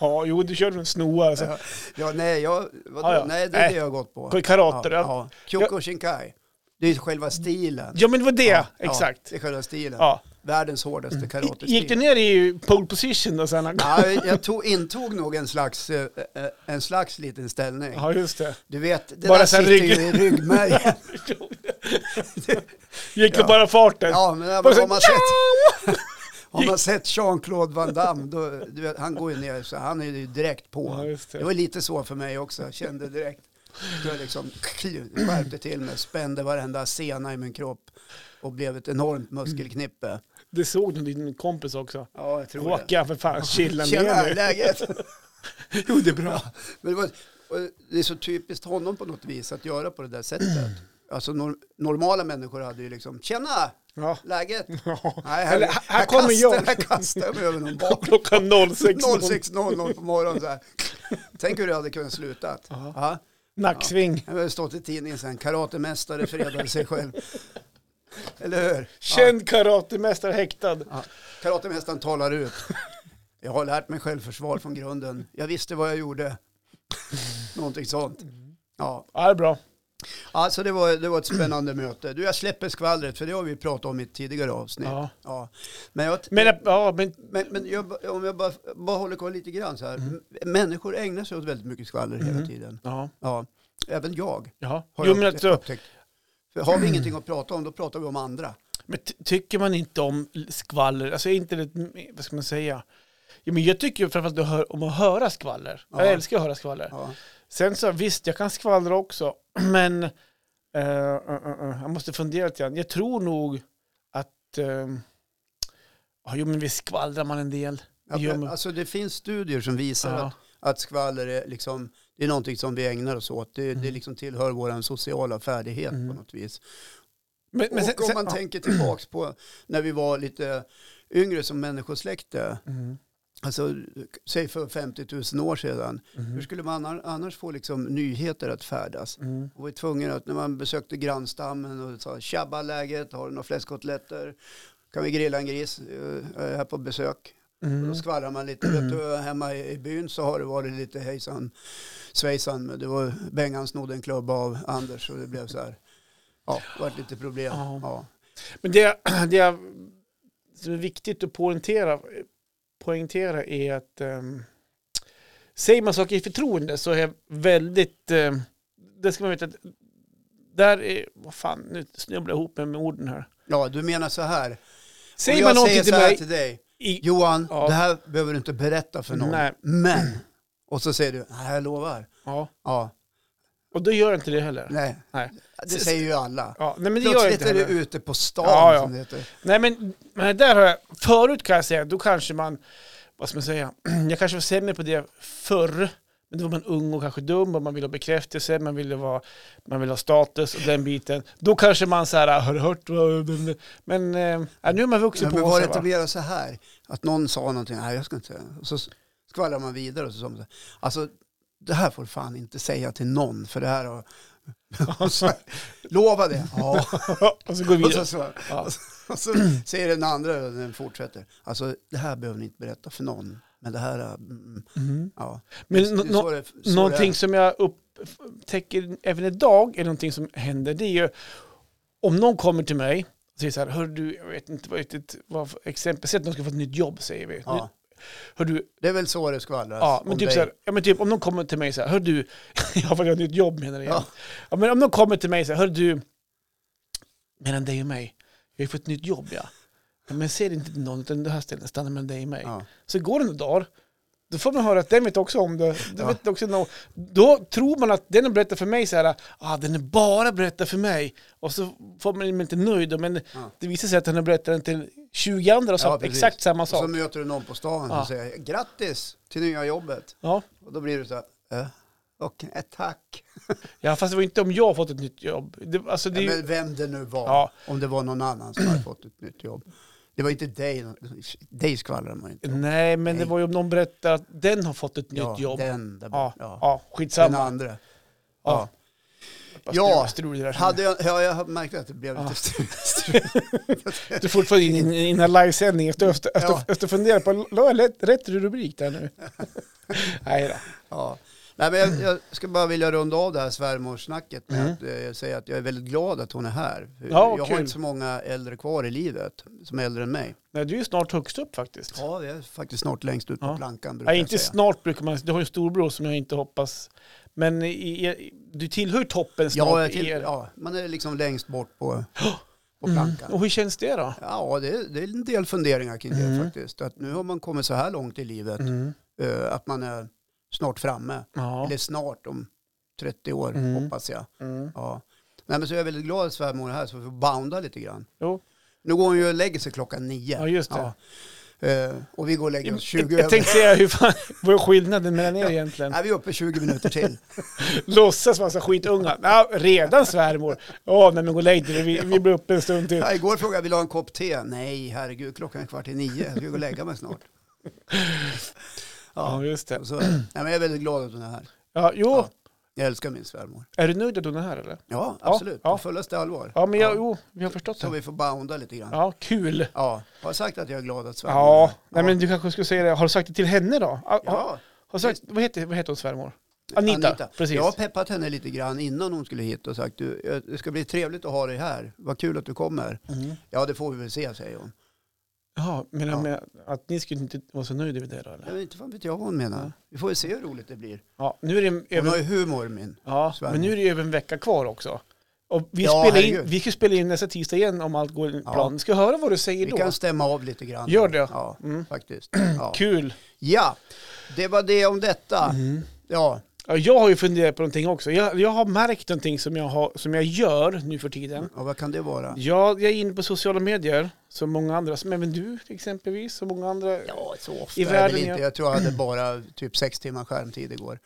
Ja, jo du körde en snoa alltså. Ja, ja, nej, jag, vadå? Ja, ja. nej, det är Nej. det jag har gått på. K- Karate. Ja, Ja, ja. Kyokushinkai. Det är själva stilen. ja men det var det, Ja, exakt. det är själva stilen. Ja. Mm. världens hårdaste karate Gick du ner i pole position då sen? han kom? Ja, jag tog, intog nog en slags, eh, eh, en slags liten ställning. *laughs* Ja, just det. Du vet, det Bara där så här sitter rygg- ju i ryggmärgen. *laughs* Gick det Ja. bara farten? Ja, men Bara så- har man sett, har man sett Jean-Claude Van Damme, då, du vet, han går ju ner så han är ju direkt på. Ja, just det. det. var lite så för mig också, jag kände direkt. Jag liksom skärpte till mig, spände varenda sena i min kropp och blev ett enormt muskelknippe. *laughs* Det såg nog din kompis också. Ja, jag tror det. Håkan, för fan, chilla Tjena, ner nu. *laughs* läget? Jo, det är bra. Men det, var, och det är så typiskt honom på något vis att göra på det där sättet. Alltså nor- normala människor hade ju liksom, tjena, Ja. läget? Ja. *laughs* Nej, Eller, här, kommer kastar, jag. Här *laughs* kastar jag mig över någon bak. Klockan 06.00. 06.00 på morgonen så här. Tänk hur det hade kunnat sluta. Ja. Nacksving. Jag har stått i tidningen sen, karatemästare fredade sig själv. Eller hur? Känd karatemästare häktad. Ja. Karatemästaren talar ut. Jag har lärt mig självförsvar från grunden. Jag visste vad jag gjorde. Någonting sånt. Ja, Ja, det är bra. alltså det var, det var ett spännande möte. Du, jag släpper skvallret, för det har vi pratat om i ett tidigare avsnitt. Ja. Ja. Men jag, Men, ja, men Men, men jag, ba- om jag bara, bara håller kvar lite grann så här. M- Människor ägnar sig åt väldigt mycket skvaller hela tiden. Ja. Ja, även jag. ja. Har Jo, jag men, upptä- alltså, upptäckt. För har vi ingenting att prata om, då pratar vi om andra. men ty- tycker man inte om skvaller, alltså är inte det, vad ska man säga? Jo, men jag tycker ju framförallt att hör, om att höra skvaller. Ja. Jag älskar att höra skvaller. Ja. Sen så visst, jag kan skvallra också, *clears throat* men eh, eh, eh, eh, jag måste fundera lite grann. Jag tror nog att, eh, ja, jo men visst skvallrar man en del. Att, Jo, men- Alltså det finns studier som visar Ja. att, att skvaller är, liksom, det är någonting som vi ägnar oss åt. Det, Mm. det liksom tillhör vår sociala färdighet på något vis. Men, Mm. men och sen- om sen- man ja. tänker tillbaks på när vi var lite yngre som människosläkte, Mm. alltså säg för 50 000 år sedan, hur skulle man annar- annars få liksom nyheter att färdas? Mm. Och var tvungen att när man besökte grannstammen och sa tjabba läget, har du några fläskkotletter? Kan vi grilla en gris eh, här på besök? Och Mm. då skvallrar man lite. Vet du, hemma i i byn så har det varit lite hejsan svejsan. Men det var Bengan snodde en klubba av Anders och det blev så här. Ja, det vart lite problem. Ja. Ja. Men det, *clears throat* det är, som är viktigt att poängtera, poängtera är att um, säger man saker i förtroende så är jag väldigt, ehm, det ska man veta, att där är, vad fan, nu snubblar jag ihop mig med orden här. ja, du menar så här. Säger Om man jag säger någonting så till här mig, till dig. i, Johan, Ja. det här behöver du inte berätta för någon. Nej. Men, och så säger du, nej jag lovar. ja, Ja, och då gör jag inte det heller. nej. Nej, Det säger ju alla. ja, nej men det gör jag Plötsligt inte är du heller. ute på stan Ja, ja. som det heter. Nej men, men där har jag, förut kan jag säga, då kanske man, vad ska man säga, *clears throat* jag kanske var sämre på det förr. Men då var man ung och kanske dum och man ville ha bekräftelse, man ville, vara, man ville ha status och den biten. Då kanske man så här, har du hört? vad- Men eh, ja, nu är man vuxen Men, på men var det sig. inte Va? mer så här? Att någon sa någonting, nej jag ska inte säga. Och så skvallrar man vidare och så sa man så här, alltså det här får du fan inte säga till någon för det här har... *laughs* Och så här, Lova det. *laughs* Ja. *laughs* och så går vi Och så, vidare. så, Ja. och så säger den andra och den fortsätter. Alltså det här behöver ni inte berätta för någon. Men det här, mm, Mm. ja. Men Det är nå- så nå- det- så det är. någonting som jag upptäcker även idag är någonting som händer. Det är ju om någon kommer till mig och säger så här, hör du, jag vet inte vad riktigt, vad för exempel, säg att någon ska få ett nytt jobb säger vi. Ja, Hör du, det är väl så det skvallras ja, om men typ dig. så här, ja men typ om någon kommer till mig så här, hör du, *laughs* ja för jag har ett nytt jobb menar jag. Ja. Ja. men om någon kommer till mig så här, hör du, mellan dig och mig, jag har ju fått ett nytt jobb ja. "Ja, Men säg det inte till någon, utan det här stället stannar mellan dig och mig. Ja. Så går det några dagar, då får man höra att den vet också om det. Den Ja. vet också nå- Då tror man att den berättar för mig så här, ah, den är bara berättar för mig. Och så får man inte nöjd, då, men Ja. det visar sig att den har berättat den till 20 andra och Ja, sagt precis. exakt samma Och så sak. möter du någon på stan som Ja. säger grattis till nya jobbet. Ja. Och då blir du så här, eh, och eh, tack. ja, fast det var inte om jag har fått ett nytt jobb. Det, alltså, det är Ja, ju, men vem det nu var, Ja. om det var någon annan som hade fått ett nytt jobb. Det var inte dig, dig skvallrar man inte. nej, men det Nej. var ju om någon berättar att den har fått ett ja, nytt jobb. Den där Ja, borta. ja. ja. Den skitsamma. andra. Ja. Ja. Strul, strul det där. Hade jag, ja, jag märkte att det blev Ja. lite strul. Du är fortfarande inne i in, in livesändning. Jag står Ja. *laughs* ja. och funderar på, la jag rätt, rätt rubrik där nu? Nej då. *laughs* ja. Nej, men jag, jag ska bara vilja runda av det här svärmorsnacket med Mm. att eh, säga att jag är väldigt glad att hon är här. Ja, jag kul. har inte så många äldre kvar i livet som är äldre än mig. Nej, du är ju snart högst upp faktiskt. Ja, jag är faktiskt snart längst ut på Ja. plankan brukar Nej, jag inte säga. snart brukar man Du har ju en storbror som jag inte hoppas. Men i, i, du tillhör ju toppen snart. Ja, jag i till, er- Mm. ja, man är liksom längst bort *gasps* på, på plankan. Och hur känns det då? Ja, det, det är en del funderingar kring Mm. det faktiskt. Att nu har man kommit så här långt i livet, eh, att man är snart framme. Ja. Eller snart om 30 år, Mm. hoppas jag. Mm. Ja. Nej, men så är jag väldigt glad att svärmor är här, så vi får bounda lite grann. Jo. Nu går hon ju och lägger sig klockan nio. Ja, just det. Eh, och vi går och lägger oss 20 Jag, över. jag tänkte säga, hur fan, vad är skillnaden mellan er egentligen? Nej, vi är uppe 20 minuter till. Låtsas vara så skitunga. Ja, redan svärmor. Ja, nej men gå och lägg dig. Vi, vi blir uppe en stund till. Ja, igår frågade jag, vill du ha en kopp te? Nej, herregud, klockan är kvart i nio. Jag ska gå och lägga mig snart. Ja, Ja, just det. så, nej, men jag är väldigt glad att hon är här. Ja, jo, Ja. Jag älskar min svärmor. är du nöjd att hon är här eller? Ja, Ja, absolut. ja. På fullaste allvar. Ja, men jag, jo, vi har förstått Så det. vi får bounda lite grann. Ja. Ja, kul. Har jag sagt att jag är glad att svärmor är Ja, här? nej men du kanske skulle säga det. Har du sagt det till henne då? Ja, Har, Ja, har du sagt, vad, heter, vad heter hon svärmor? Anita, precis. Jag har peppat henne lite grann innan hon skulle hit och sagt du, eh, det ska bli trevligt att ha dig här. Vad kul att du kommer. Mm. Ja, det får vi väl se, säger hon. Ja, men Ja. Med att ni skulle inte vara så nöjda med det då Jag eller? vet inte fan vet jag vad hon menar. Vi får väl se hur roligt det blir. Ja, nu är det Hon över, har ju humor, min. ja, Sverige. men nu är det över en vecka kvar också. Och vi, Ja, spelar in, herregud. vi ska spela in nästa tisdag igen om allt går enligt Ja. plan. Vi ska höra vad du säger Vi då. kan stämma av lite grann. Gör det. Ja, Mm. faktiskt. Ja. *clears throat* Kul. Mm. ja, det var det om detta. Ja, Ja, jag har ju funderat på någonting också. Jag, jag har märkt någonting som jag, har, som jag gör nu för tiden. och vad kan det vara? Ja, jag är inne på sociala medier, som många andra, som även du exempelvis, och många andra. Ja, så ofta I är det världen, väl ja. inte. Jag tror jag *clears throat* hade bara typ sex timmar skärmtid igår.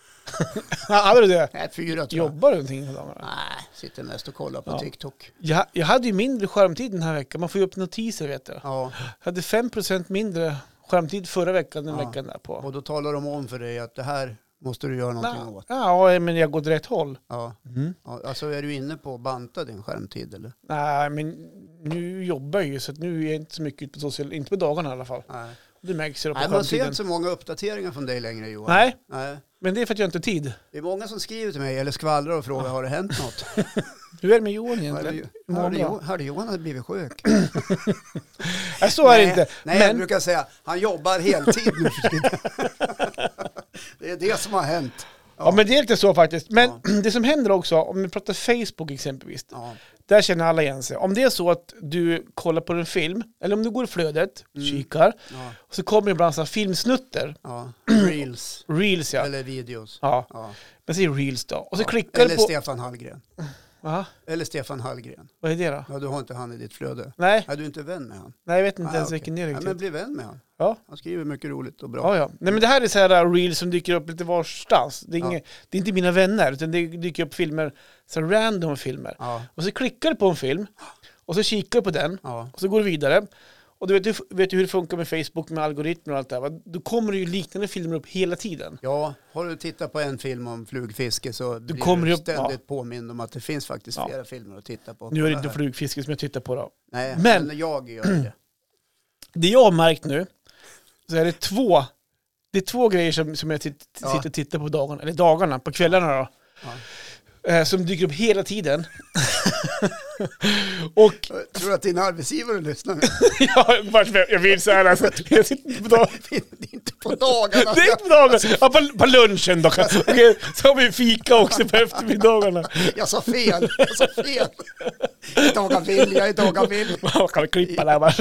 Hade du det? Nej, fyra tror jag. Jobbar du någonting på dagarna? Nej, sitter mest och kollar på Ja. TikTok. Jag, jag hade ju mindre skärmtid den här veckan. Man får ju upp notiser vet du. Ja, Jag hade 5% mindre skärmtid förra veckan än Ja. veckan därpå. och då talar de om för dig att det här måste du göra någonting Nå, åt. Ja, men jag går åt rätt håll. Ja. Mm. Ja, alltså är du inne på att banta din skärmtid eller? Nej, men nu jobbar jag ju så att nu är jag inte så mycket ute på sociala, inte på dagarna i alla fall. Nej, Det märks ju då på Nej man ser skärmtiden. inte så många uppdateringar från dig längre Johan. Nej, Nej. men det är för att jag inte har tid. Det är många som skriver till mig eller skvallrar och Ah. frågar har det hänt *laughs* något? Hur är det med Johan Hörde egentligen? Jo- Mår han hörde bra? Jo- Hörde Johan hade blivit sjuk? Nej, så är det Nej, inte. Nej, jag men, brukar säga han jobbar heltid nu för tiden. *laughs* Det är det som har hänt. ja, men det är lite så faktiskt. Men *clears throat* det som händer också, om vi pratar Facebook exempelvis, Ja. där känner alla igen sig. Om det är så att du kollar på en film, eller om du går i flödet, Mm. kikar, Ja, och så kommer det ibland så här filmsnutter, ja. Reels reels ja. eller videos. ja. Ja. Men säger reels då. Och så klickar du Eller på... Stefan Hallgren. Aha, Eller Stefan Hallgren. vad är det då? Ja, du har inte han i ditt flöde. Nej, Nej, du är inte vän med han. nej jag vet inte Nej, Ah, ens okej. vilken det är Nej, men riktigt. bli vän med han. Ja. Han skriver mycket roligt och bra. Ja, ja. Nej, men det här är så här uh, reels som dyker upp lite varstans. Det är, Ja. inget, det är inte mina vänner, utan det dyker upp filmer, så här random filmer. Ja, Och så klickar du på en film, och så kikar du på den, ja, och så går du vidare. Och du vet, du vet ju hur det funkar med Facebook, med algoritmer och allt det här. va? Då kommer det ju liknande filmer upp hela tiden. ja. Har du tittat på en film om flugfiske så blir du kommer kommer ju- du ständigt påmind om att det finns faktiskt Ja. flera filmer att titta på. Nu är det inte flugfiske som jag tittar på då. Nej, Men- men, jag gör det. Det jag har märkt nu, så är det två, det är två grejer som, som jag tit- Ja. sitter och tittar på dagarna, eller dagarna, på kvällarna då. Eh, Som dyker upp hela tiden. *laughs* och Jag tror att din arbetsgivare *laughs* lyssnar nu? Ja, varför- jag vill så här alltså. Jag sitter inte på dagen. Det är inte på dagarna. Det är inte på dagen. alltså, Ja, på, på lunchen då kanske. Okej, så har vi fika också på eftermiddagarna. Jag sa fel, jag sa fel. Dagar vill, jag är dagar vill. Man kan vi klippa det här *laughs* bara.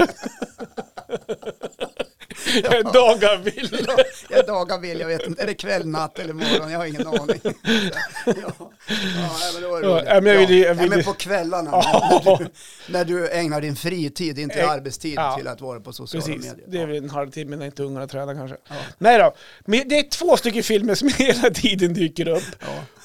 Dagar vill. Jag är dagar vill, jag vet inte. Är det kväll, natt eller morgon? Jag har ingen aning. Ja, ja, men, då är det Ja, roligt. men jag vill ju- jag Nej, vill ju- men på kvällarna. Ja. När, du, när du ägnar din fritid, inte Eh, arbetstid, ja. till att vara på sociala Precis, medier. det Ja. är väl en halvtimme när inte ungarna tränar kanske. Nej då, men det är två stycken filmer som *laughs* hela tiden dyker upp.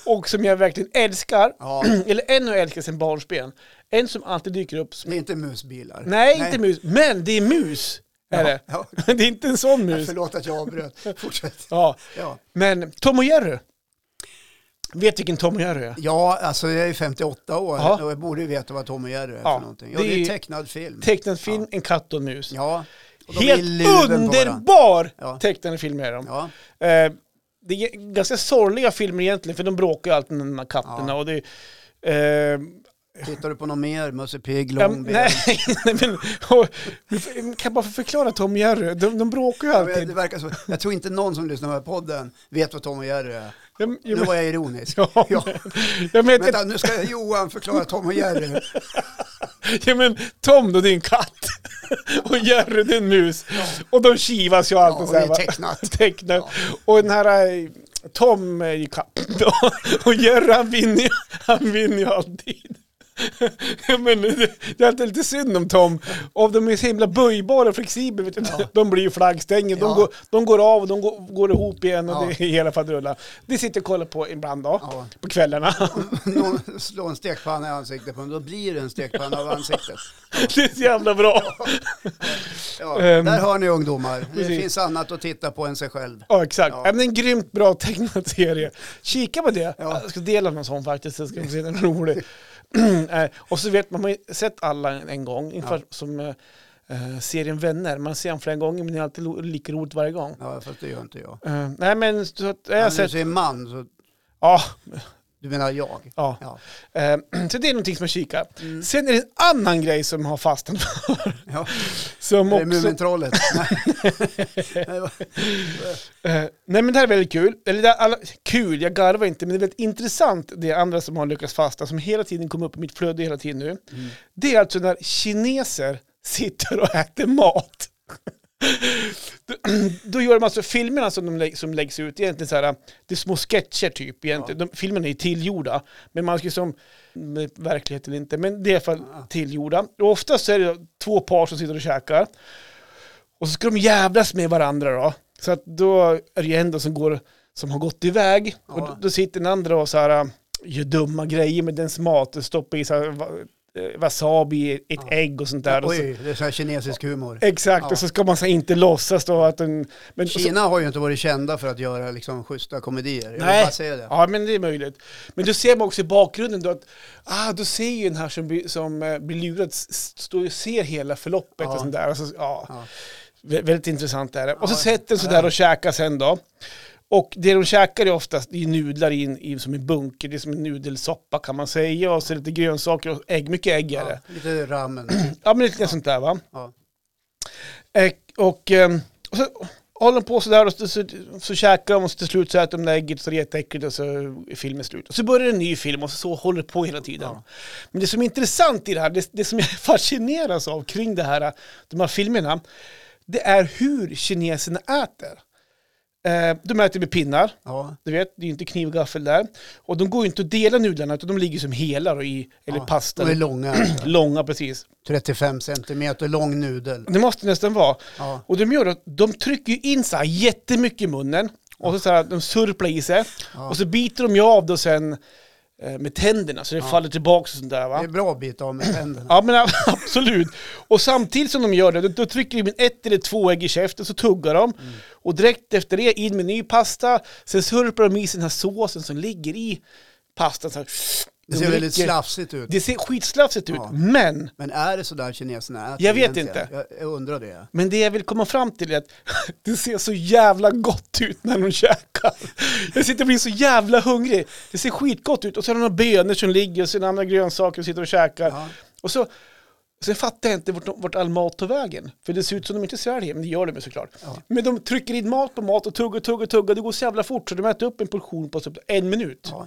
Och som jag verkligen älskar. Ja. *clears throat* Eller en jag älskar sedan barnsben. En som alltid dyker upp. Som... Det är inte musbilar. Nej, inte mus. Men det är mus. Är det. Ja. *laughs* det är inte en sån mus. Förlåt att jag avbröt. Fortsätt. Ja. Ja. Men Tom och Jerry. Vet vilken Tom och Jerry är? ja, alltså jag är 58 år Ja. och jag borde ju veta vad Tom och Jerry är Ja, för någonting. det Ja, är det ju- är tecknad film. Tecknad film, en katt och en mus. Ja. Och de är i Helt luven på varandra. underbar Ja. tecknade film är de. Ja. Eh, det är ganska sorgliga filmer egentligen, för de bråkar ju alltid med de här katterna. Ja. Och det, är, eh, Tittar du på något mer? Musse Pigg, ja, Långben? nej, *laughs* nej, men och, kan jag bara få förklara Tom och Jerry? De, de bråkar ju Jag, vet, alltid. det verkar så. jag tror inte någon som lyssnar på den här podden vet vad Tom och Jerry är. Ja, men- Nu var jag ironisk. Ja, *laughs* Ja. men- ja, men, Vänta, nu ska Johan förklara Tom och Jerry. ja, men Tom då, det är en katt. *laughs* Och Jerry, det är en mus. Och de kivas ju Ja, alltid och så det här. va? är tecknat. *laughs* tecknat. Och den här eh, Tom är ju *laughs* katt. Och- Och Jerry han vinner ju, han vinner ju alltid. *laughs* Ja, Men det det är alltid lite synd om Tom. Och de är så himla böjbara och flexibla. Vet du. De blir ju flaggstänger. De, Ja. går, de går av och de går, går ihop igen och Ja. det är hela faderullan. Det sitter och kollar på ibland då, Ja. *laughs* på kvällarna. Någon slår en stekpanna i ansiktet på honom, då blir det en stekpanna av ansiktet. Det är så jävla bra. Ja, Ehm. där hör ni ungdomar, det Precis. finns annat att titta på än sig själv. Ja, exakt. Ja. Ja. men en grymt bra tecknad serie. Kika på det. Ja. Jag ska dela någon sån faktiskt, så ska vi se den är *laughs* rolig. Eh, och så vet man, man har ju sett alla en, en gång, ungefär som eh, eh, serien Vänner. Man ser den flera gånger, men det är alltid lo- lika roligt varje gång. Ja, fast det gör inte jag. Eh, nej, men så att, jag har Men du sett... säger man, så Ja, du menar jag. ja. Ja, Mm. Eh, *clears throat* så det är någonting som jag kikar. Sen är det en annan grej som har fastnat för. *laughs* ja. Som Det är också... *laughs* Mumintrollet. Nej, va- Eh, nej men det här är väldigt kul. Eller det är alla, kul, jag garvar inte, men det är väldigt intressant det andra som har lyckats fasta, som hela tiden kommer upp i mitt flöde hela tiden nu. Det är alltså när kineser sitter och äter mat. Då, då gör de alltså filmerna som, de lä- som läggs ut, egentligen så här, det är små sketcher typ. Egentligen. De, filmerna är tillgjorda, men man ska som, med verklighet eller inte, men det är i alla fall tillgjorda. Och oftast så är det två par som sitter och käkar. Och så ska de jävlas med varandra då. Så att då är det ju en då som, går, som har gått iväg. Och då, då sitter den andra och så här, gör dumma grejer med dens mat. Och stoppar i så här, va, eh, wasabi, i ett ägg och sånt där. Och så, Oj, det är så här kinesisk humor. exakt, och så ska man så här, inte låtsas då att den... Men, och så, Kina har ju inte varit kända för att göra liksom schyssta komedier. Jag vill Nej. bara säga det. Ja, men det är möjligt. Men då ser man också i bakgrunden då att, ah, då ser ju den här som, blir- som eh, blir lurad, s- s- står ju och ser hela förloppet och sånt där. Alltså, ja. Ja. Vä- Väldigt intressant är det. Och så sätter den sådär och käkar sen då. Och det de käkar är oftast det är nudlar in i som en bunker, det är som en nudelsoppa kan man säga. Och så lite grönsaker och ägg, mycket ägg är det. Ja, lite ramen. Ja, men lite sånt där va. Ja. Eh, Och, ehm, och så håller de på sådär och så, så, så käkar de och så till slut så äter de det ägget så det är jätteäckligt och så är filmen slut. Och så börjar en ny film och så, så håller det på hela tiden. Men det som är intressant i det här, det, det som jag *laughs* fascineras av kring det här, de här filmerna, det är hur kineserna äter. Eh, De äter med pinnar, Ja. du vet, det är ju inte kniv och gaffel där. Och de går ju inte att dela nudlarna utan de ligger som hela då i, eller pasta, De är långa. långa precis. 35 centimeter lång nudel. Det måste nästan vara. Ja. Och de gör att de trycker ju in så här jättemycket i munnen. Och så, så här, de surplar i sig. Och så biter de ju av då sen eh, med tänderna så det faller tillbaka och sånt där Det va. är en bra bit av med tänderna. Ja men *laughs* ab- absolut. Och samtidigt som de gör det, då, då trycker de in ett eller två ägg i käften, så tuggar de. Mm. Och direkt efter det in med ny pasta, sen surplar de i sig den här såsen som ligger i pastan. Så här, Det ser De väldigt dricker- slafsigt ut. Det ser skitslafsigt ut, Ja. men Men är det så där kineserna äter? Jag vet egentligen? Jag, jag undrar det. Men det jag vill komma fram till är att *laughs* det ser så jävla gott ut när de käkar. Jag sitter och blir så jävla hungrig. Det ser skitgott ut. Och så har de några bönor som ligger och sen andra grönsaker och sitter och käkar. Ja. Och så, sen fattar jag inte vart, de- vart all mat tar vägen. För det ser ut som de inte sväljer, men det gör de ju såklart. Men de trycker in mat på mat och tuggar, tuggar, tuggar. Det går så jävla fort så de äter upp en portion på typ en minut. Ja.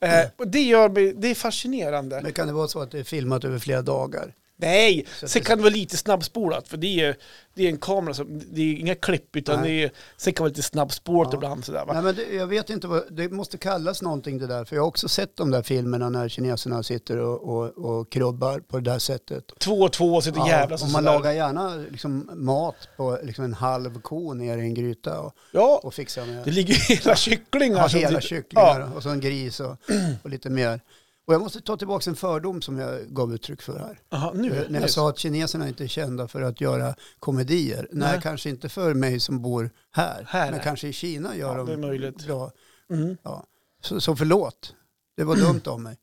Eh, och det, gör, mig- det är fascinerande. Men kan det vara så att det är filmat över flera dagar? Nej, att det- sen kan det vara lite snabbspolat för det är, det är en kamera som, det är inga klipp utan Nej. det är, sen kan det vara lite snabbspolat ibland sådär va. Nej, men det, jag vet inte vad, det måste kallas någonting det där. För jag har också sett de där filmerna när kineserna sitter och, och, och krubbar på det där sättet. Två och två och sitter och jävlas och och man sådär. lagar gärna liksom mat på liksom en halv ko ner i en gryta och, Ja, och fixar med det ligger hela kycklingar. ja, som hela sitter- kycklingar Ja. och så en gris och, och lite mer. Och jag måste ta tillbaka en fördom som jag gav uttryck för här. Aha, nu, Eh, När nu. jag sa att kineserna inte är kända för att göra komedier. Nej, Nej. kanske inte för mig som bor här. Här, men nej. kanske i Kina gör Ja, de det är möjligt. bra. Mm. Ja. Så, så förlåt, det var dumt av mig.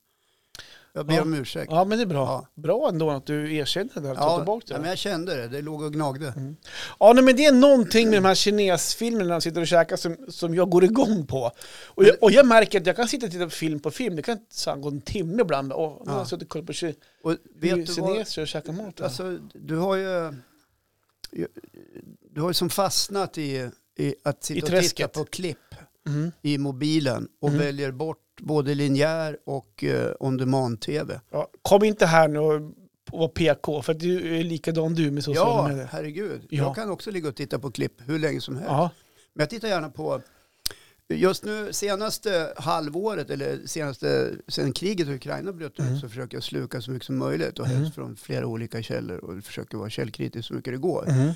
Jag ber Ja. om ursäkt. Ja, men det är bra. Ja. Bra ändå att du erkänner det här och tar Ja, tillbaka det. Mm. ja, men jag kände det. Det låg och gnagde. Ja, nej, men det är någonting med de här kinesfilmerna när de sitter och käkar som, som jag går igång på. Och jag, och jag märker att jag kan sitta och titta på film på film, det kan så gå en timme ibland. Åh, nu har jag suttit och kollat på ki- Och vet du vad? kineser och käkat mat. här. Alltså, du har ju... Du har ju som fastnat i, i att I sitta och titta träsket. på klipp Mm. i mobilen och Mm. väljer bort både linjär och eh, on demand-tv. Ja, kom inte här nu och och var PK, för att du är likadan du med sociala Ja, medier. herregud. Ja. Jag kan också ligga och titta på klipp hur länge som helst. Ja. Men jag tittar gärna på, just nu senaste halvåret eller senaste, sen kriget i Ukraina bröt Mm. ut så försöker jag sluka så mycket som möjligt och helst från flera olika källor och försöker vara källkritisk så mycket det går. Mm.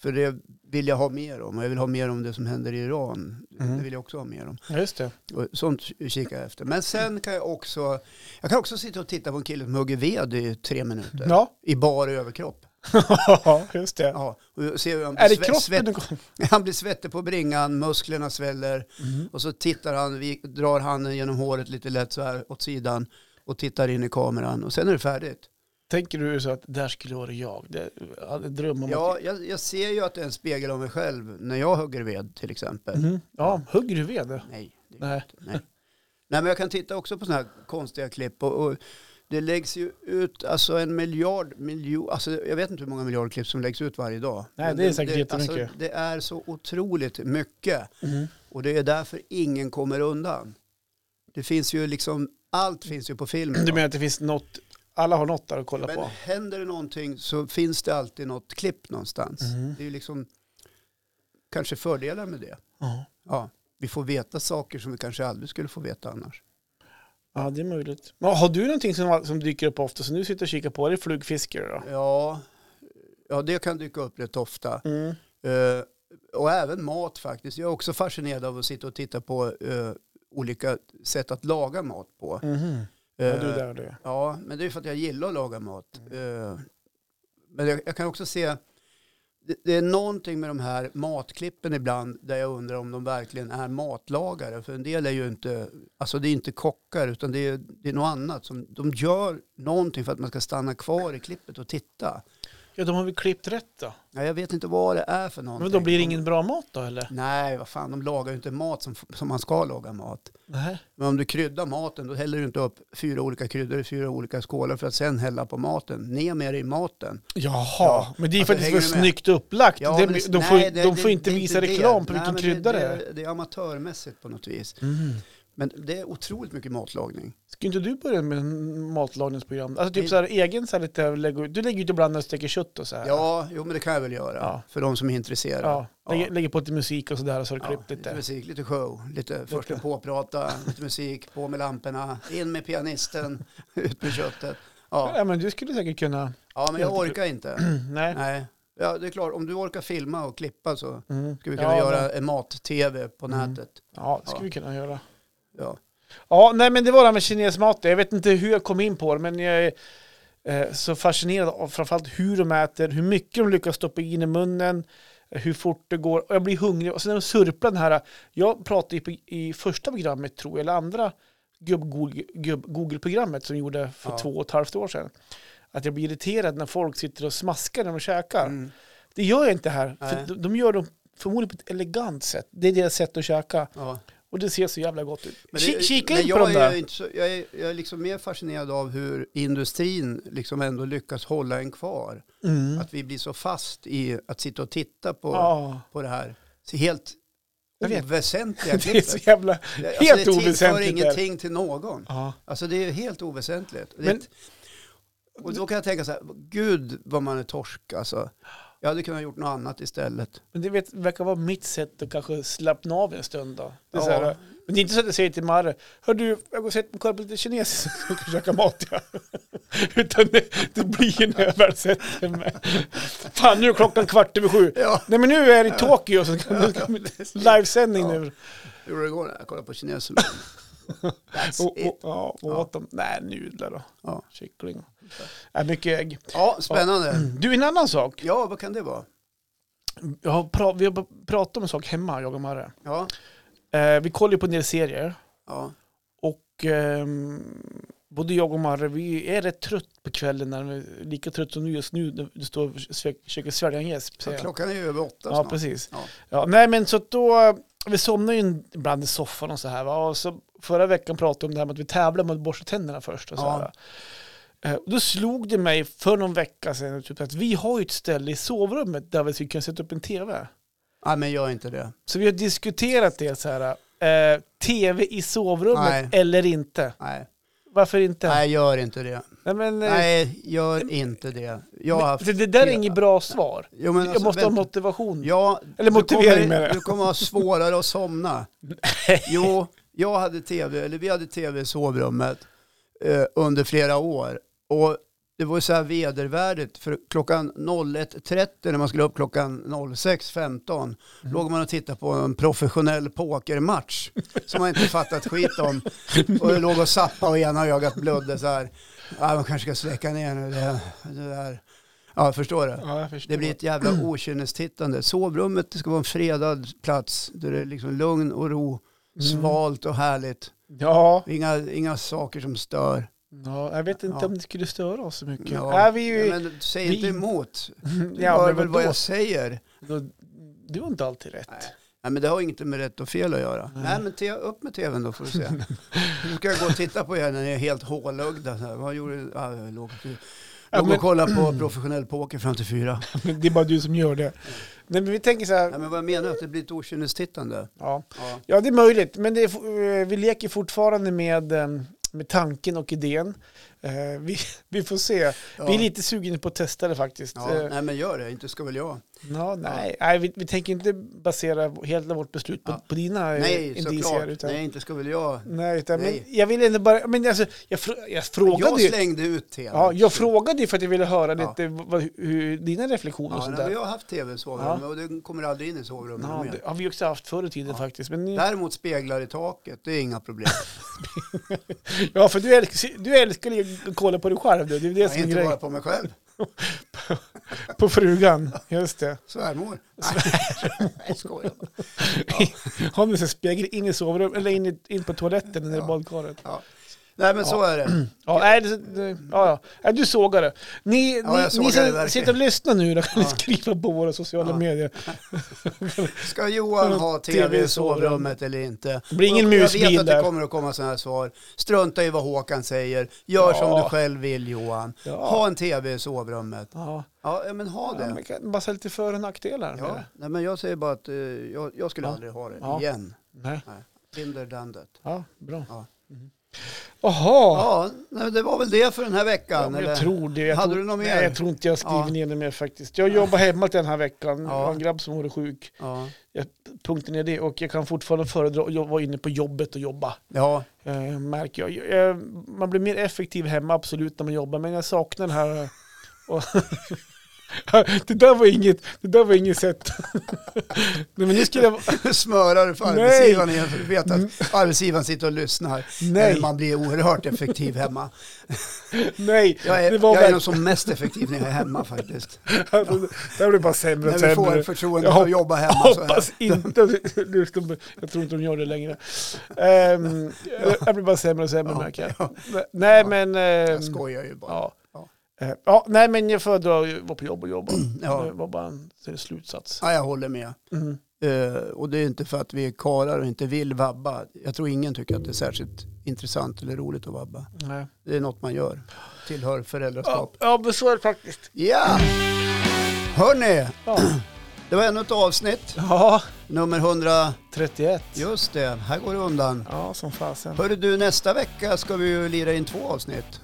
För det vill jag ha mer om och jag vill ha mer om det som händer i Iran. Mm. Det vill jag också ha mer om. ja, just det. Och sånt kikar jag efter. Men sen kan jag också, jag kan också sitta och titta på en kille som hugger ved i tre minuter. Ja, *laughs* I bara överkropp. just det. Ja, och se hur han Är det sve- kroppen du *laughs* kommer... han blir svettig på bringan, musklerna sväller Mm. och så tittar han, vi drar handen genom håret lite lätt så här åt sidan och tittar in i kameran och sen är det färdigt. Tänker du så att där skulle vara jag? Det, jag hade en dröm om Ja, jag, jag ser ju att det är en spegel av mig själv när jag hugger ved till exempel. att... Mhm. Ja, hugger du ved? Nej, det, Nej. nej. nej, men jag kan titta också på sådana här konstiga klipp och, och det läggs ju ut alltså en miljard, miljon, alltså jag vet inte hur många miljarder klipp som läggs ut varje dag. Nej, Men det är säkert jättemycket. Alltså, det är så otroligt mycket. Mhm. Och det är därför ingen kommer undan. Det finns ju liksom, allt finns ju på film. Du idag. menar att det finns något, alla har något där att kolla Men på? händer det någonting så finns det alltid något klipp någonstans. Mhm. Det är ju liksom kanske fördelar med det. Ja. Ja, vi får veta saker som vi kanske aldrig skulle få veta annars. ja, det är möjligt. Men har du någonting som, som dyker upp ofta som du sitter och kikar på? Är det flugfiskare då? Ja, ja det kan dyka upp rätt ofta. Mm. Eh, och även mat faktiskt. Jag är också fascinerad av att sitta och titta på eh, olika sätt att laga mat på. Mhm. Ja, du Eh, där Mm. du. Ja, men det är för att jag gillar att laga mat. Eh, Men jag, jag kan också se, det, det är någonting med de här matklippen ibland där jag undrar om de verkligen är matlagare. För en del är ju inte, alltså det är inte kockar utan det är, det är något annat. Som, de gör någonting för att man ska stanna kvar i klippet och titta. Ja, de har väl klippt rätt då? Ja, jag vet inte vad det är för någonting. Men då blir det ingen bra mat då eller? Nej, vad fan, de lagar ju inte mat som, som man ska laga mat. Nej. Men om du kryddar maten, då häller du inte upp fyra olika kryddor i fyra olika skålar för att sen hälla på maten. Ner med det i maten. Jaha, Ja. men det är Alltså, faktiskt för hänger du med? snyggt upplagt. Ja, det, men de får, nej, det- de får det- inte det är visa det. reklam på Nej, vilken men krydda det är. Det, det är amatörmässigt på något vis. Mm. Men det är otroligt mycket matlagning. Ska inte du börja med en matlagningsprogram? Alltså typ Det- så här egen så här lite, lägg- du lägger ut ibland när du steker kött och så här. Ja, jo men det kan jag väl göra. Ja. För de som är intresserade. ja. Lägger, Ja. lägger på lite musik och så där och så har du klippt lite lite. musik, lite show, lite först en påprata, lite musik, på med lamporna, in med pianisten, *laughs* ut med köttet. Ja, Ja, men du skulle säkert kunna... *clears throat* ja men jag orkar inte. Nej. Nej. Ja, det är klart, om du orkar filma och klippa så Mm. ska vi kunna ja, göra men- en mat-tv på Mm. nätet. Ja, det skulle Ja. vi kunna göra. Ja. Ja, nej men det var det här med kinesmat. Jag vet inte hur jag kom in på det, men jag är eh, så fascinerad av framförallt hur de äter, hur mycket de lyckas stoppa in i munnen, eh, hur fort det går. Och jag blir hungrig. Och sen när de surplar den här, jag pratade i, på- i första programmet tror jag, eller andra gubb- Google- gubb- Google-programmet som gjorde för Ja. två och ett halvt år sedan. Att jag blir irriterad när folk sitter och smaskar när de käkar. Mm. Det gör jag inte här. För Nej. de, de gör det förmodligen på ett elegant sätt. Det är deras sätt att käka. Ja. Och det ser så jävla gott ut. Men Ki- det- Kika men in på jag dem är där. ju Inte så, jag är, jag är liksom mer fascinerad av hur industrin liksom ändå lyckas hålla en kvar. Mm. Att vi blir så fast i att sitta och titta på, *laughs* Ja, på det här så helt Jag vet. oväsentliga *laughs* det är så klippet. jävla... Det- helt Alltså, det tillför oväsentligt där. ingenting till någon. Ja. Alltså det är helt oväsentligt. Det är Men- ett- och då kan jag tänka så här, gud vad man är torsk alltså. Jag hade kunnat gjort något annat istället. Men det vet, verkar vara mitt sätt att kanske slappna av en stund då. Det är Ja. så här, men det är inte så att jag säger till Marre, hör du, jag går och sätter mig och kollar på lite kinesiskt och ska käka mat. Ja. *laughs* Utan det, det blir ju när jag väl sätter mig. Fan, nu är klockan kvart över sju. Ja, Nej men nu är det i Tokyo, så kan *laughs* livesändning Ja. nu. hur gjorde det igår? Jag kollade på kinesen. *laughs* That's Och, it. och, ja, och åt dem, nej nudlar då, Ja. kyckling. Nej, mycket ägg. Ja, spännande. Du, en annan sak. Ja, vad kan det vara? Jag har pra- vi har pratat om en sak hemma, jag och Marre. Ja, Eh, vi kollar ju på en del serier ja. och ehm, både jag och Marre, vi är rätt trött på kvällen, när vi är lika trött som nu just nu när du står och försöker- försöker svälja en gäsp. säger Ja, jag. klockan är ju över åtta Ja, snart. precis. Ja. Ja, nej, men så att då, vi somnar ju ibland i soffan och så här. Va? Och så förra veckan pratade vi om det här med att vi tävlar med att borsta tänderna först. Och så Ja. här. Eh, och Då slog det mig för någon vecka sedan typ, att vi har ju ett ställe i sovrummet där vi skulle kunna sätta upp en tv. Nej, men gör inte det. Så vi har diskuterat det så här. Eh, tv i sovrummet Nej. eller inte. Nej, Varför inte? Nej. Nej gör inte det. men, eh, Nej, gör inte det. Jag har haft... det, det där är tv. inget bra svar. Jo, men jag alltså, måste ha vänta. motivation. Ja, Eller du motivering kommer- menar jag. Du kommer ha svårare att *laughs* somna. Jo, jag hade tv, eller vi hade tv i sovrummet eh, under flera år. Och det var ju så här vedervärdigt, för klockan 01.30 när man skulle upp klockan 06.15 Mm. låg man och tittade på en professionell pokermatch som man inte fattat skit om. Och jag låg och zappade och ena ögat blödde så här. Ja, man kanske ska släcka ner nu det, det där. Ja, förstår du? Ja, jag förstår. Det blir ett jävla Mm. okynnestittande. Sovrummet det ska vara en fredad plats där det är liksom lugn och ro, Mm. svalt och härligt. Ja. Inga, inga saker som stör. Ja, jag vet inte Ja. om det skulle störa oss så mycket. Ja. Är vi ju... Ja, men säg inte vi- emot. Du *laughs* Ja, hör men väl vadå? vad jag säger. Då- Du har inte alltid rätt. Nej. Nej, men det har inget med rätt och fel att göra. Nej, men te, upp med tvn då får du *laughs* se. Nu ska jag gå och titta på er när ni är helt hålögda. så här. Vad gjorde du? Ah, jag låg, Ja, låg men- Mm. och kollade på professionell poker fram till fyra. *laughs* Men det är bara du som gör det. Nej, men vi tänker så här. Mm. Nej, men vad jag menar är att det blir ett okynnestittande. Ja, Ja. ja det är möjligt. Men det är, fo- eh, vi leker fortfarande med, eh, med tanken och idén. Eh, Vi, *laughs* vi får se. Vi är Ja. lite sugna på att testa det faktiskt. Ja, Ja, nej men gör det, inte ska väl jag. ja, nej. nej vi, vi tänker inte basera hela vårt beslut på, Ja. på dina eh, Nej, indicier. såklart. Utan, Nej, inte ska väl jag. nej, utan, Nej. Men jag vill ändå bara... Men alltså, jag, fr- jag frågade Jag ju. slängde ut tv. Ja, jag frågade ju för att jag ville höra Ja. lite vad, hur, dina reflektioner och Ja, sånt nej, men där. jag har haft tv i sovrummet och det kommer aldrig in i sovrummet Ja, mer. det har vi också haft förr i tiden faktiskt. Men, nu- Däremot speglar i taket, det är inga problem. ja, för du älskar, du älskar ju att kolla på dig själv. Du. Det är *laughs* det Jag som är är inte bara grejen. på mig själv, På frugan, just det. *laughs* svärmor. Nej, *laughs* jag skojar bara. Har ni så spegel in i sovrummet, eller in, i, in på toaletten eller i Ja. badkaret. Ja. Nej men så är det. Ja, nej, det, det, ja, ja. Nej, du sågar det. Ni, Ja, jag ni, sågar ni det som verkligen. sitter och lyssnar nu då kan ni skriva på våra sociala medier. Ska Johan ha tv i sovrummet eller inte? Det blir ingen Och jag- Jag musbil vet att det där. kommer att komma sådana här svar. Strunta i vad Håkan säger. Gör Ja. som du själv vill Johan. Ja. Ha en tv i sovrummet. Ja, Ja, ja, men ha ja, det. man kan bara säga lite för och nackdelar. med Ja, det. nej, men jag säger bara att eh, jag, jag skulle aldrig ha det Alltså, Ja. igen. Nej. Nej. Tinder done that. Ja, bra. Ja. Jaha, Ja, nej, det var väl det för den här veckan. jag eller? tror det. Jag Hade tror, du något mer? Nej, jag tror inte jag skriver Ja. ner det mer faktiskt. Jag jobbar hemma den här veckan. Jag Ja. har en grabb som vore sjuk. Ja. Jag punkten är det och jag kan fortfarande föredra att vara inne på jobbet och jobba. ja, Eh, märker jag. jag. eh, Man blir mer effektiv hemma absolut när man jobbar, men jag saknar den här... eh, Och *laughs* det där var inget, det där var inget sätt. *laughs* nej, men nu skulle *laughs* jag... smörar för Nej. Mm. arbetsgivaren igen för du vet att arbetsgivaren sitter och lyssnar. Nej. Men Man blir oerhört effektiv hemma. Nej, Jag är, det var jag är verkligen... nog som mest effektiv när jag är hemma *laughs* faktiskt. Alltså, *laughs* det här blir bara sämre och När vi får sämre. förtroende Jag för hopp- att jobba hemma Jag så här. hoppas inte. *laughs* att- Jag tror inte de gör det längre. Ehm, jag blir bara sämre och sämre märker jag. Nej men... ehm, Jag skojar ju bara. ja. Ja. Eh, ja, nej men jag föredrar ju att vara på jobb och jobba. ja. Det var bara en så är det slutsats. Ja, jag håller med. Mm. Eh, och det är inte för att vi är karlar och inte vill vabba. Jag tror ingen tycker att det är särskilt intressant eller roligt att vabba. Nej. Det är något man gör. Tillhör föräldraskap. Ja, ja, men så är det faktiskt. Ja! Hörni, Ja, det var ännu ett avsnitt. *clears throat* ja Nummer 100. 31. Just det, här går det undan. Ja, som fasen. Hörru du, nästa vecka ska vi ju lira in två avsnitt.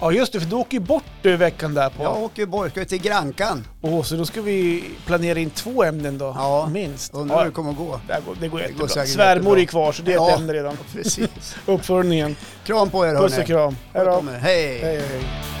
Ja, just det, för du åker ju bort du veckan därpå. Jag åker ju bort, ska ju till Grankan. Åh, så då ska vi planera in två ämnen då, Ja. minst. Undrar hur det kommer att gå. det, här går, det går jättebra. säkert Svärmor jättebra. är kvar, så det är Ja. ett ämne redan. *laughs* Precis. Uppföljningen. Kram på er Puss hörni. och kram. Hej då. Hej. Hej, hej.